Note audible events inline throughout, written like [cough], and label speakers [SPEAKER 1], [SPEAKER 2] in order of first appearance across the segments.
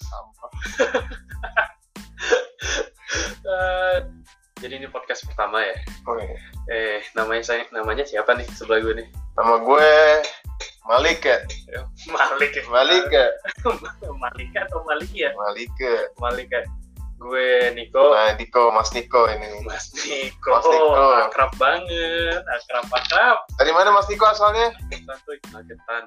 [SPEAKER 1] Sampah.
[SPEAKER 2] Eh, [laughs] jadi ini podcast pertama ya.
[SPEAKER 1] Oke.
[SPEAKER 2] Eh, namanya saya namanya siapa nih sebelah gue nih?
[SPEAKER 1] Nama gue Malik ya.
[SPEAKER 2] Malik. ya?
[SPEAKER 1] Malik ya.
[SPEAKER 2] Malika atau Maliki ya?
[SPEAKER 1] Malik ya.
[SPEAKER 2] Malik ya. Gue Niko.
[SPEAKER 1] Nah, Diko, Mas Niko ini.
[SPEAKER 2] Mas Niko.
[SPEAKER 1] Mas Niko.
[SPEAKER 2] Akrab banget. Akrab akrab.
[SPEAKER 1] Dari mana Mas Niko
[SPEAKER 2] [laughs]
[SPEAKER 1] asalnya?
[SPEAKER 2] Satu kemacetan.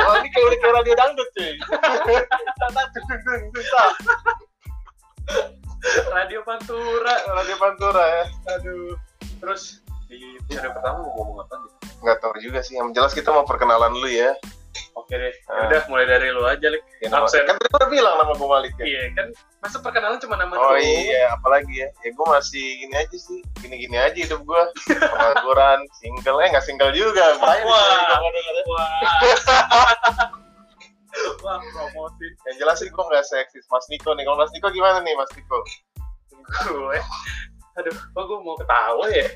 [SPEAKER 1] Wah, ini kayak udah kayak radio dangdut cuy. Tata dung dung [laughs] dung tak.
[SPEAKER 2] Radio Pantura.
[SPEAKER 1] Radio Pantura ya.
[SPEAKER 2] Aduh. Terus di episode pertama mau ngomong apa nih?
[SPEAKER 1] Nggak tahu juga sih. Yang jelas kita mau perkenalan dulu ya.
[SPEAKER 2] Oke deh. Udah mulai dari lu aja, Lek.
[SPEAKER 1] Ya, nama,
[SPEAKER 2] Absen.
[SPEAKER 1] Ah. kan tadi udah bilang nama gue Malik ya.
[SPEAKER 2] Iya kan, masa perkenalan cuma nama
[SPEAKER 1] Oh
[SPEAKER 2] doang.
[SPEAKER 1] iya, apalagi ya? Ya gue masih gini aja sih, gini-gini aja hidup gue. Pengangguran, single, eh nggak single juga. Bahaya nih,
[SPEAKER 2] Wah.
[SPEAKER 1] kadang-kadang.
[SPEAKER 2] Wah. Wah, promosi
[SPEAKER 1] Yang jelas sih gue nggak seksis. Mas Niko nih, kalau Mas Niko gimana nih Mas Niko?
[SPEAKER 2] gue. Aduh, kok gue mau ketawa ya?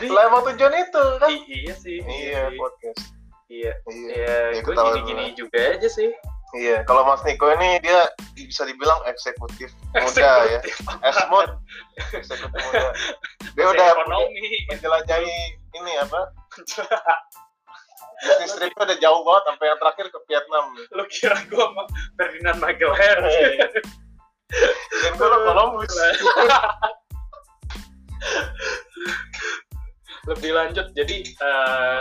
[SPEAKER 2] Ini
[SPEAKER 1] Lah emang tujuan itu kan?
[SPEAKER 2] i- iya sih.
[SPEAKER 1] Iya,
[SPEAKER 2] sih.
[SPEAKER 1] podcast.
[SPEAKER 2] Iya.
[SPEAKER 1] Iya.
[SPEAKER 2] Ya,
[SPEAKER 1] Iya,
[SPEAKER 2] gue
[SPEAKER 1] ketawa
[SPEAKER 2] gini-gini juga aja sih.
[SPEAKER 1] Iya, kalau Mas Niko ini dia bisa dibilang eksekutif muda ya.
[SPEAKER 2] [laughs]
[SPEAKER 1] Esmod, eksekutif muda. Dia
[SPEAKER 2] Masih
[SPEAKER 1] udah
[SPEAKER 2] ekonomi. gitu.
[SPEAKER 1] menjelajahi ini apa? Bisnis tripnya udah jauh banget sampai yang terakhir ke Vietnam.
[SPEAKER 2] Lu kira gue sama Ferdinand Magellan?
[SPEAKER 1] Dan gue lo Columbus.
[SPEAKER 2] Lebih lanjut, jadi eh,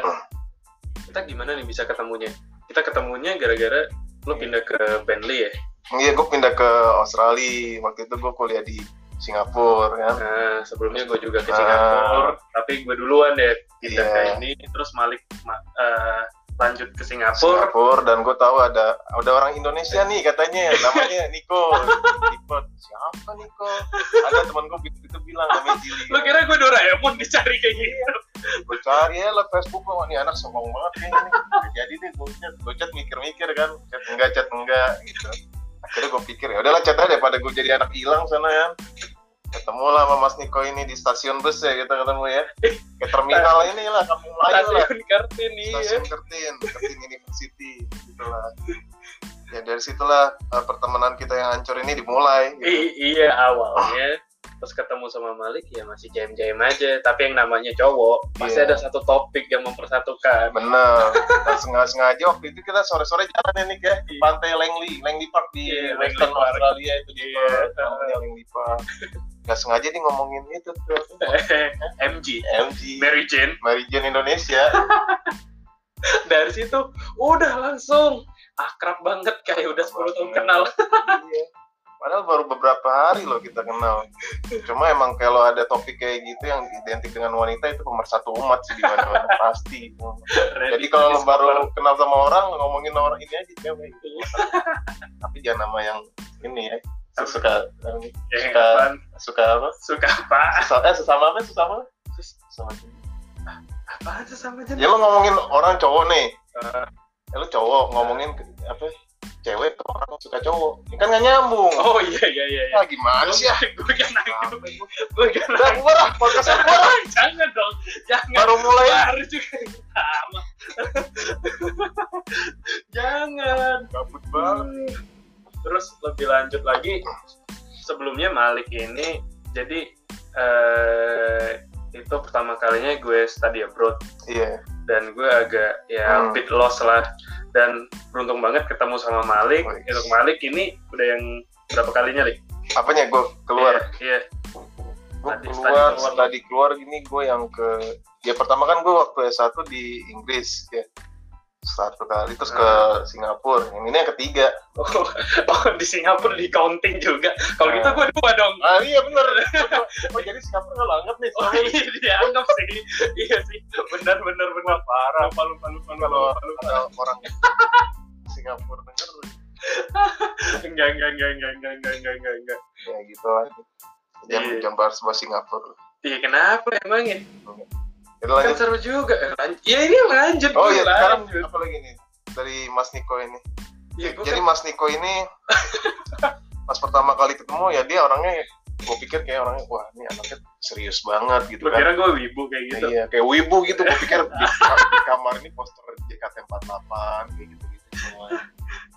[SPEAKER 2] kita gimana nih bisa ketemunya? Kita ketemunya gara-gara lu pindah ke Bentley ya?
[SPEAKER 1] Iya, gue pindah ke Australia. Waktu itu gue kuliah di Singapura kan.
[SPEAKER 2] Nah, sebelumnya gue juga ke
[SPEAKER 1] Ah.
[SPEAKER 2] Singapura, tapi gue duluan deh pindah
[SPEAKER 1] Iya.
[SPEAKER 2] ke ini, terus Malik ma- eh, lanjut ke Singapura.
[SPEAKER 1] Singapura dan gue tahu ada ada orang Indonesia nih katanya namanya Niko Niko siapa Niko ada teman gue gitu, gitu bilang namanya Jili
[SPEAKER 2] Lu kira gue Doraemon dicari kayak gitu?
[SPEAKER 1] gue cari ya lah Facebook gue nih anak sombong banget kayaknya nih Nggak jadi deh gue chat gue chat mikir-mikir kan chat enggak chat enggak gitu akhirnya gue pikir ya udahlah chat aja daripada gue jadi anak hilang sana ya ketemu lah sama Mas Niko ini di stasiun bus ya kita ketemu ya ke terminal ini lah kampung Melayu
[SPEAKER 2] Nah,
[SPEAKER 1] lah
[SPEAKER 2] Stasiun Kartini ya.
[SPEAKER 1] Iya, stasiun Kertin, Kertin University gitulah. Ya dari situlah eh, pertemanan kita yang hancur ini dimulai. Gitu.
[SPEAKER 2] I- iya
[SPEAKER 1] Ah.
[SPEAKER 2] awalnya terus ketemu sama Malik ya masih jam-jam aja tapi yang namanya cowok pasti
[SPEAKER 1] Iya.
[SPEAKER 2] ada satu topik yang
[SPEAKER 1] [laughs]
[SPEAKER 2] mempersatukan
[SPEAKER 1] Bener. Dan sengaja-sengaja waktu itu kita sore-sore jalan ya Nick ya di
[SPEAKER 2] Iya.
[SPEAKER 1] pantai Langley, Langley Park di
[SPEAKER 2] Iya, Langley
[SPEAKER 1] Western
[SPEAKER 2] Park.
[SPEAKER 1] Australia itu di
[SPEAKER 2] Iya.
[SPEAKER 1] namanya Langley Park. Gak sengaja nih ngomongin itu tuh
[SPEAKER 2] MG
[SPEAKER 1] MG
[SPEAKER 2] Mary Jane
[SPEAKER 1] Mary Jane Indonesia.
[SPEAKER 2] dari situ udah langsung akrab banget kayak udah 10 tahun kenal
[SPEAKER 1] Iya. Padahal baru beberapa hari loh kita kenal. Cuma emang kalau ada topik kayak gitu yang identik dengan wanita itu pemersatu umat sih di
[SPEAKER 2] [laughs]
[SPEAKER 1] mana pasti. [laughs] Jadi kalau baru kenal sama orang ngomongin orang ini aja cewek. Tapi jangan nama yang ini ya. Suka
[SPEAKER 2] ya,
[SPEAKER 1] suka suka apa?
[SPEAKER 2] suka apa
[SPEAKER 1] Susah, eh sesama apa sesama? Sesama.
[SPEAKER 2] apa tuh sama
[SPEAKER 1] Ya
[SPEAKER 2] jenis
[SPEAKER 1] lo ngomongin orang cowok nih.
[SPEAKER 2] Eh,
[SPEAKER 1] Ya lo cowok ngomongin ke- apa? Cewek ke orang suka cowok. Ya kan gak nyambung.
[SPEAKER 2] oh iya iya iya iya.
[SPEAKER 1] Ah, gimana
[SPEAKER 2] [laughs]
[SPEAKER 1] sih ya?
[SPEAKER 2] gue gak nangkep
[SPEAKER 1] Sampai gua-
[SPEAKER 2] gue gak
[SPEAKER 1] Udah
[SPEAKER 2] nangkep
[SPEAKER 1] gua lah, podcast gua lah.
[SPEAKER 2] jangan dong jangan
[SPEAKER 1] baru mulai
[SPEAKER 2] baru juga sama jangan
[SPEAKER 1] gabut
[SPEAKER 2] terus lebih lanjut lagi sebelumnya Malik ini jadi eh, itu pertama kalinya gue study abroad
[SPEAKER 1] iya
[SPEAKER 2] dan gue agak ya
[SPEAKER 1] Hmm.
[SPEAKER 2] bit lost lah dan beruntung banget ketemu sama Malik
[SPEAKER 1] Wih.
[SPEAKER 2] untuk Malik ini udah yang berapa kalinya Lik?
[SPEAKER 1] apanya gue keluar
[SPEAKER 2] iya
[SPEAKER 1] gue
[SPEAKER 2] Tadi,
[SPEAKER 1] keluar
[SPEAKER 2] tadi keluar.
[SPEAKER 1] tadi keluar gini gue yang ke ya pertama kan gue waktu S1 di Inggris ya satu kali terus ke
[SPEAKER 2] Ah.
[SPEAKER 1] Singapura yang ini yang ketiga
[SPEAKER 2] oh, [laughs] oh, di Singapura di counting juga kalau gitu
[SPEAKER 1] Hmm.
[SPEAKER 2] gue dua dong
[SPEAKER 1] ah iya bener oh jadi Singapura nggak langgep nih
[SPEAKER 2] Oh iya dianggap sih. Iya sih. Benar benar benar parah. Lupa lupa lupa lupa
[SPEAKER 1] Kalau-
[SPEAKER 2] lupa, lupa.
[SPEAKER 1] Ada orang Singapura denger
[SPEAKER 2] Enggak enggak enggak enggak enggak enggak enggak enggak enggak.
[SPEAKER 1] ya gitu aja jam
[SPEAKER 2] Iya.
[SPEAKER 1] jam bar sebuah Singapura
[SPEAKER 2] Iya kenapa emang ya?
[SPEAKER 1] Jadi
[SPEAKER 2] Kan
[SPEAKER 1] lanjut
[SPEAKER 2] seru juga. Eh, lan- Ya ini lanjut.
[SPEAKER 1] oh
[SPEAKER 2] gue
[SPEAKER 1] iya sekarang
[SPEAKER 2] lanjut.
[SPEAKER 1] apa lagi nih dari Mas Niko ini
[SPEAKER 2] Iya gue
[SPEAKER 1] jadi Mas Niko ini pas pertama kali ketemu ya dia orangnya gue pikir kayak orangnya wah ini anaknya serius banget
[SPEAKER 2] kan-
[SPEAKER 1] gitu
[SPEAKER 2] lu
[SPEAKER 1] kan
[SPEAKER 2] kira gue wibu kayak gitu.
[SPEAKER 1] iya kayak wibu gitu gue pikir di, di kamar ini poster JKT48 kayak gitu gitu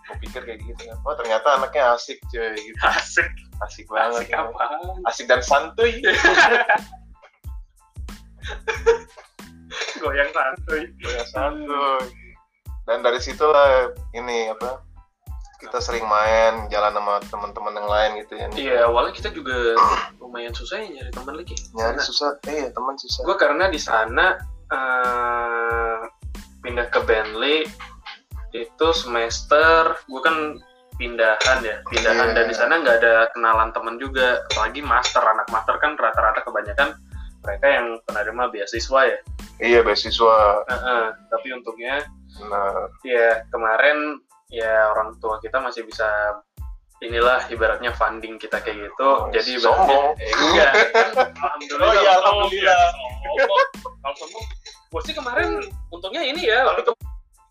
[SPEAKER 1] gue pikir kayak gitu kan oh ternyata anaknya asik cuy gitu
[SPEAKER 2] asik
[SPEAKER 1] asik banget
[SPEAKER 2] asik
[SPEAKER 1] ya.
[SPEAKER 2] apa
[SPEAKER 1] asik dan santuy
[SPEAKER 2] goyang santuy
[SPEAKER 1] Goyang "Iya, santuy dan dari situlah ini apa kita sering main jalan sama teman-teman yang lain gitu ya nih.
[SPEAKER 2] iya awalnya kita juga lumayan susah ya nyari teman lagi
[SPEAKER 1] nyari
[SPEAKER 2] Karena-
[SPEAKER 1] susah eh teman susah
[SPEAKER 2] gue karena di sana eh, pindah ke Bentley itu semester gue kan pindahan ya pindahan
[SPEAKER 1] Iya.
[SPEAKER 2] dan di sana nggak ada kenalan temen juga apalagi master anak master kan rata-rata kebanyakan mereka yang penerima beasiswa ya
[SPEAKER 1] iya beasiswa
[SPEAKER 2] Heeh, tapi untungnya
[SPEAKER 1] nah
[SPEAKER 2] ya kemarin ya orang tua kita masih bisa inilah ibaratnya funding kita kayak gitu
[SPEAKER 1] Oh,
[SPEAKER 2] jadi ibaratnya
[SPEAKER 1] sombong. [laughs]
[SPEAKER 2] eh, enggak kan, alhamdulillah
[SPEAKER 1] Oh, iya,
[SPEAKER 2] kalau
[SPEAKER 1] alhamdulillah.
[SPEAKER 2] sombong, sombong. kalau sombong gue sih kemarin untungnya ini ya
[SPEAKER 1] tapi ke-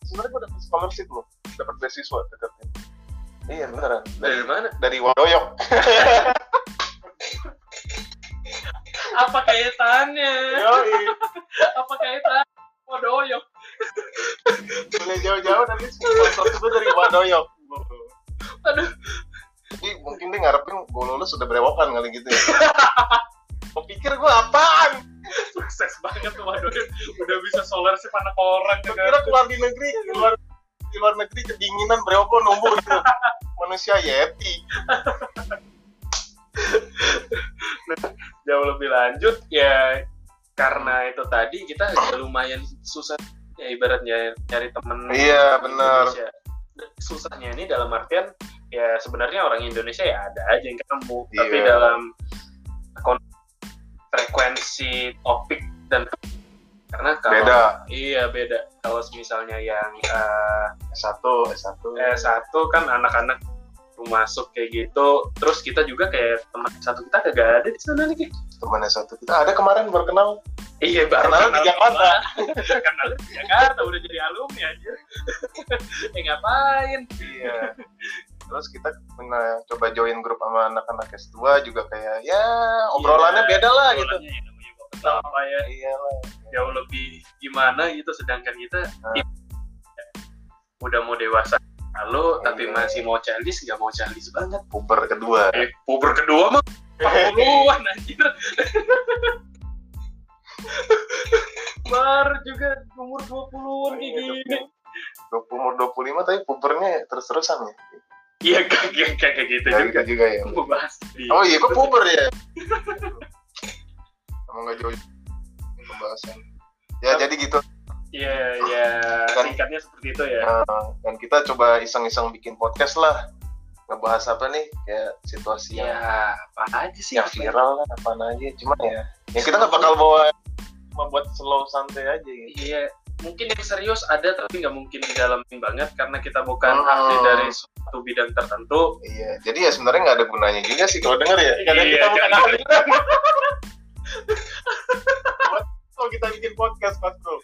[SPEAKER 1] sebenarnya gue dapet scholarship loh dapet beasiswa dekatnya iya beneran dari,
[SPEAKER 2] dari mana
[SPEAKER 1] dari Wadoyok
[SPEAKER 2] apa kaitannya
[SPEAKER 1] Yoi.
[SPEAKER 2] apa oh, kaitan Wadoyok
[SPEAKER 1] Boleh jauh-jauh dari sponsor itu dari Wadoyok.
[SPEAKER 2] Aduh.
[SPEAKER 1] Jadi mungkin dia ngarepin gue lulus udah berewokan kali gitu ya. [laughs] Gua pikir gue apaan?
[SPEAKER 2] sukses banget tuh Wadoyok udah bisa solar sih anak orang
[SPEAKER 1] Gua kira keluar di negeri, keluar di luar negeri kedinginan berewok nunggu gitu. Manusia Yeti.
[SPEAKER 2] Nah, jauh lebih lanjut ya karena itu tadi kita agak lumayan susah ya ibaratnya nyari temen
[SPEAKER 1] Iya,
[SPEAKER 2] di
[SPEAKER 1] benar.
[SPEAKER 2] Indonesia. susahnya ini dalam artian ya sebenarnya orang Indonesia ya ada aja yang ketemu tapi
[SPEAKER 1] Iya.
[SPEAKER 2] dalam kon- frekuensi topik dan karena kalau
[SPEAKER 1] Beda.
[SPEAKER 2] iya beda kalau misalnya yang eh,
[SPEAKER 1] S1, S1.
[SPEAKER 2] eh, satu kan anak-anak baru masuk kayak gitu terus kita juga kayak teman satu kita kagak ada di sana lagi
[SPEAKER 1] Teman S1 kita ada kemarin berkenal.
[SPEAKER 2] Iya, baru
[SPEAKER 1] Karena di Jakarta.
[SPEAKER 2] [laughs] Karena di Jakarta udah jadi alumni aja. [laughs] eh ngapain?
[SPEAKER 1] Iya. Terus kita pernah coba join grup sama anak-anak S2 juga kayak ya
[SPEAKER 2] Iya,
[SPEAKER 1] obrolannya beda lah gitu.
[SPEAKER 2] obrolannya ya, namanya juga kenal apa ya
[SPEAKER 1] Iya lah.
[SPEAKER 2] jauh lebih gimana gitu sedangkan kita
[SPEAKER 1] Nah.
[SPEAKER 2] ya, udah mau dewasa lalu
[SPEAKER 1] Iya.
[SPEAKER 2] tapi masih mau childish nggak mau childish banget
[SPEAKER 1] Puber kedua.
[SPEAKER 2] eh puber kedua mah 40-an anjir baru juga umur 20-an kayak gitu. gini
[SPEAKER 1] Dua- umur 25 tapi pubernya terus-terusan ya.
[SPEAKER 2] iya kayak kayak gitu
[SPEAKER 1] Ya
[SPEAKER 2] juga
[SPEAKER 1] gitu juga ya.
[SPEAKER 2] Gua bahas di
[SPEAKER 1] Oh iya, kok puber ya? Emang gak jauh pembahasan. Ya jadi gitu.
[SPEAKER 2] Iya, iya.
[SPEAKER 1] Kan-
[SPEAKER 2] Singkatnya seperti itu ya.
[SPEAKER 1] Nah, dan kita coba iseng-iseng bikin podcast lah. Ngebahas apa nih? Kayak situasi
[SPEAKER 2] Ya,
[SPEAKER 1] yang,
[SPEAKER 2] apa aja sih?
[SPEAKER 1] Iya. yang viral lah, apa aja. Cuman ya, ya kita nggak bakal bawa cuma buat slow santai aja gitu.
[SPEAKER 2] Iya, mungkin yang serius ada tapi nggak mungkin didalamin banget karena kita bukan
[SPEAKER 1] Hmm.
[SPEAKER 2] ahli dari suatu bidang tertentu.
[SPEAKER 1] Iya, jadi ya sebenarnya nggak ada gunanya juga sih kalau denger ya. Karena
[SPEAKER 2] Iya,
[SPEAKER 1] kita bukan
[SPEAKER 2] jangan.
[SPEAKER 1] ahli. [laughs] Kalau kita bikin podcast, Mas Bro.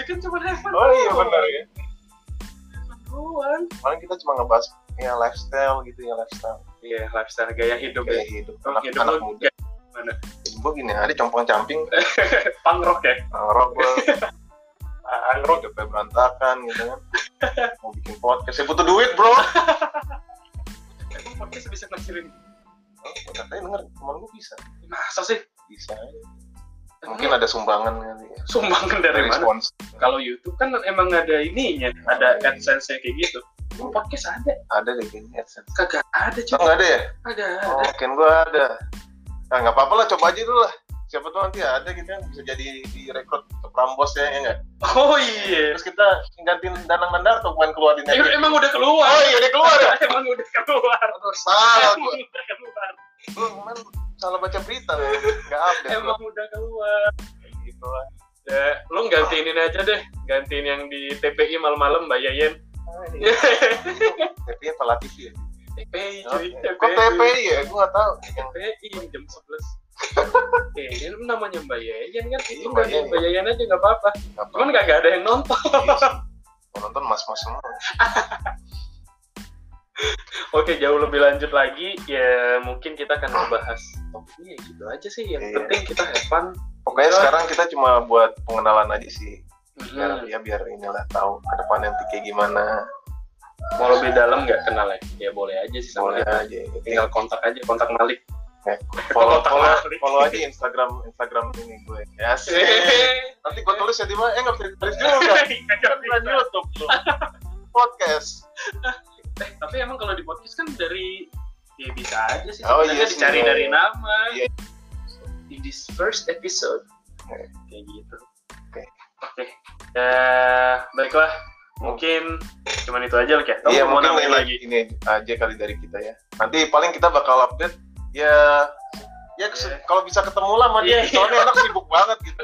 [SPEAKER 2] Ya kan cuma have fun
[SPEAKER 1] Oh iya benar ya.
[SPEAKER 2] doang.
[SPEAKER 1] Kemarin kita cuma ngebahas ya lifestyle gitu ya lifestyle
[SPEAKER 2] Iya, lifestyle gaya hidup
[SPEAKER 1] gaya
[SPEAKER 2] ya.
[SPEAKER 1] hidup
[SPEAKER 2] Oh,
[SPEAKER 1] anak,
[SPEAKER 2] hidup
[SPEAKER 1] anak
[SPEAKER 2] lu
[SPEAKER 1] muda.
[SPEAKER 2] kayak gimana? Eh.
[SPEAKER 1] Gue gini ada compong camping,
[SPEAKER 2] Pangrok ya. Ah,
[SPEAKER 1] ngerokok, gue hidupnya berantakan gitu
[SPEAKER 2] [laughs]
[SPEAKER 1] kan. Mau bikin podcast, ya butuh duit bro.
[SPEAKER 2] Emang podcast bisa ngasihin.
[SPEAKER 1] Oh, Katanya denger, temen gue bisa,
[SPEAKER 2] Masa sih?
[SPEAKER 1] bisa. aja. Mungkin ada sumbangan kali ya.
[SPEAKER 2] sumbangan dari mana?
[SPEAKER 1] sponsor.
[SPEAKER 2] Kalau YouTube kan emang ada ininya, ada adsense-nya kayak gitu. Emang podcast ada?
[SPEAKER 1] Ada deh kayaknya AdSense.
[SPEAKER 2] Kagak ada,
[SPEAKER 1] Oh,
[SPEAKER 2] coba.
[SPEAKER 1] nggak ada ya?
[SPEAKER 2] Kagak ada.
[SPEAKER 1] Oh, kan gue ada. Nah, nggak apa-apa lah, coba aja dulu lah. Siapa tuh nanti ada gitu kan, bisa jadi direkrut ke Prambos ya, ya nggak?
[SPEAKER 2] Oh iya.
[SPEAKER 1] Terus kita gantiin Danang Mandarto bukan keluarin
[SPEAKER 2] Eh,
[SPEAKER 1] aja.
[SPEAKER 2] emang udah keluar.
[SPEAKER 1] Oh iya, dia keluar ya?
[SPEAKER 2] [laughs] emang udah keluar.
[SPEAKER 1] Aduh, salah
[SPEAKER 2] Emang
[SPEAKER 1] gue.
[SPEAKER 2] udah keluar.
[SPEAKER 1] Gue kemarin salah baca berita ya. Gak update.
[SPEAKER 2] Emang udah keluar.
[SPEAKER 1] gua. gitu lah.
[SPEAKER 2] Ya, lu gantiin ini aja deh. Gantiin yang di TPI malam-malam Mbak Yayen.
[SPEAKER 1] TPI apa Latifi ya?
[SPEAKER 2] [laughs] TPI cuy.
[SPEAKER 1] Kok TPI ya? Gue gak tau. Yang
[SPEAKER 2] TPI jam [laughs] 11. Eh, ini namanya Mbak Yayen kan.
[SPEAKER 1] Iya,
[SPEAKER 2] Itu
[SPEAKER 1] Mbak
[SPEAKER 2] gantiin
[SPEAKER 1] Yayen.
[SPEAKER 2] Mbak Yayen aja nggak apa-apa.
[SPEAKER 1] apa?
[SPEAKER 2] Cuman kagak ada yang nonton.
[SPEAKER 1] Yang nonton mas-mas semua.
[SPEAKER 2] Oke, jauh lebih lanjut lagi. Ya, mungkin kita akan membahas topiknya gitu aja sih. Yang
[SPEAKER 1] Iya.
[SPEAKER 2] penting kita have fun.
[SPEAKER 1] Pokoknya
[SPEAKER 2] Iya.
[SPEAKER 1] sekarang kita cuma buat pengenalan aja sih.
[SPEAKER 2] Hmm.
[SPEAKER 1] biar ya biar inilah tahu ke depan nanti kayak gimana
[SPEAKER 2] Mau lebih dalam nggak kenalnya? Ya boleh Iya. aja sih sama
[SPEAKER 1] boleh
[SPEAKER 2] kita.
[SPEAKER 1] aja ya.
[SPEAKER 2] Tinggal kontak aja, kontak [laughs] Malik.
[SPEAKER 1] follow
[SPEAKER 2] kontak
[SPEAKER 1] follow
[SPEAKER 2] Malik.
[SPEAKER 1] follow aja Instagram Instagram ini gue
[SPEAKER 2] [laughs] Iya.
[SPEAKER 1] ya sih. nanti gue tulis ya di mana eh nggak bisa ditulis [laughs] juga
[SPEAKER 2] Bukan
[SPEAKER 1] Bukan YouTube lu podcast
[SPEAKER 2] Eh, tapi emang kalau di podcast kan dari ya bisa aja sih
[SPEAKER 1] Oh,
[SPEAKER 2] sebenarnya
[SPEAKER 1] iya sih,
[SPEAKER 2] dicari
[SPEAKER 1] iya.
[SPEAKER 2] dari nama
[SPEAKER 1] Iya.
[SPEAKER 2] di this first episode
[SPEAKER 1] Oke.
[SPEAKER 2] kayak gitu
[SPEAKER 1] Oke.
[SPEAKER 2] oke Eh, baiklah mungkin cuman itu aja lah ya Kamu
[SPEAKER 1] iya
[SPEAKER 2] mau
[SPEAKER 1] mungkin
[SPEAKER 2] nambahin
[SPEAKER 1] ini
[SPEAKER 2] lagi
[SPEAKER 1] ini aja kali dari kita ya nanti paling kita bakal update ya ya kes-
[SPEAKER 2] Iya.
[SPEAKER 1] kalau bisa ketemu lah sama dia
[SPEAKER 2] Iya, iya.
[SPEAKER 1] soalnya anak sibuk banget gitu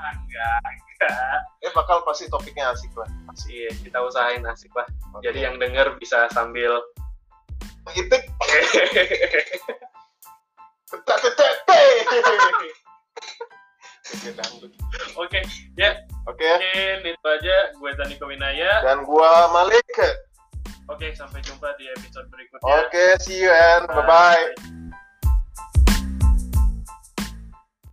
[SPEAKER 2] Ah, enggak enggak [laughs]
[SPEAKER 1] eh bakal pasti topiknya asik lah asik
[SPEAKER 2] Iya, kita usahain asik lah jadi yang denger bisa
[SPEAKER 1] [laughs]
[SPEAKER 2] sambil
[SPEAKER 1] itik tek tek tek tek. [laughs] Oke, dangdut.
[SPEAKER 2] oke
[SPEAKER 1] Oke,
[SPEAKER 2] mungkin itu aja gue Taniko Winaya
[SPEAKER 1] dan gua Malik.
[SPEAKER 2] oke sampai jumpa di episode berikutnya
[SPEAKER 1] Oke, see you and bye bye.
[SPEAKER 2] Bye.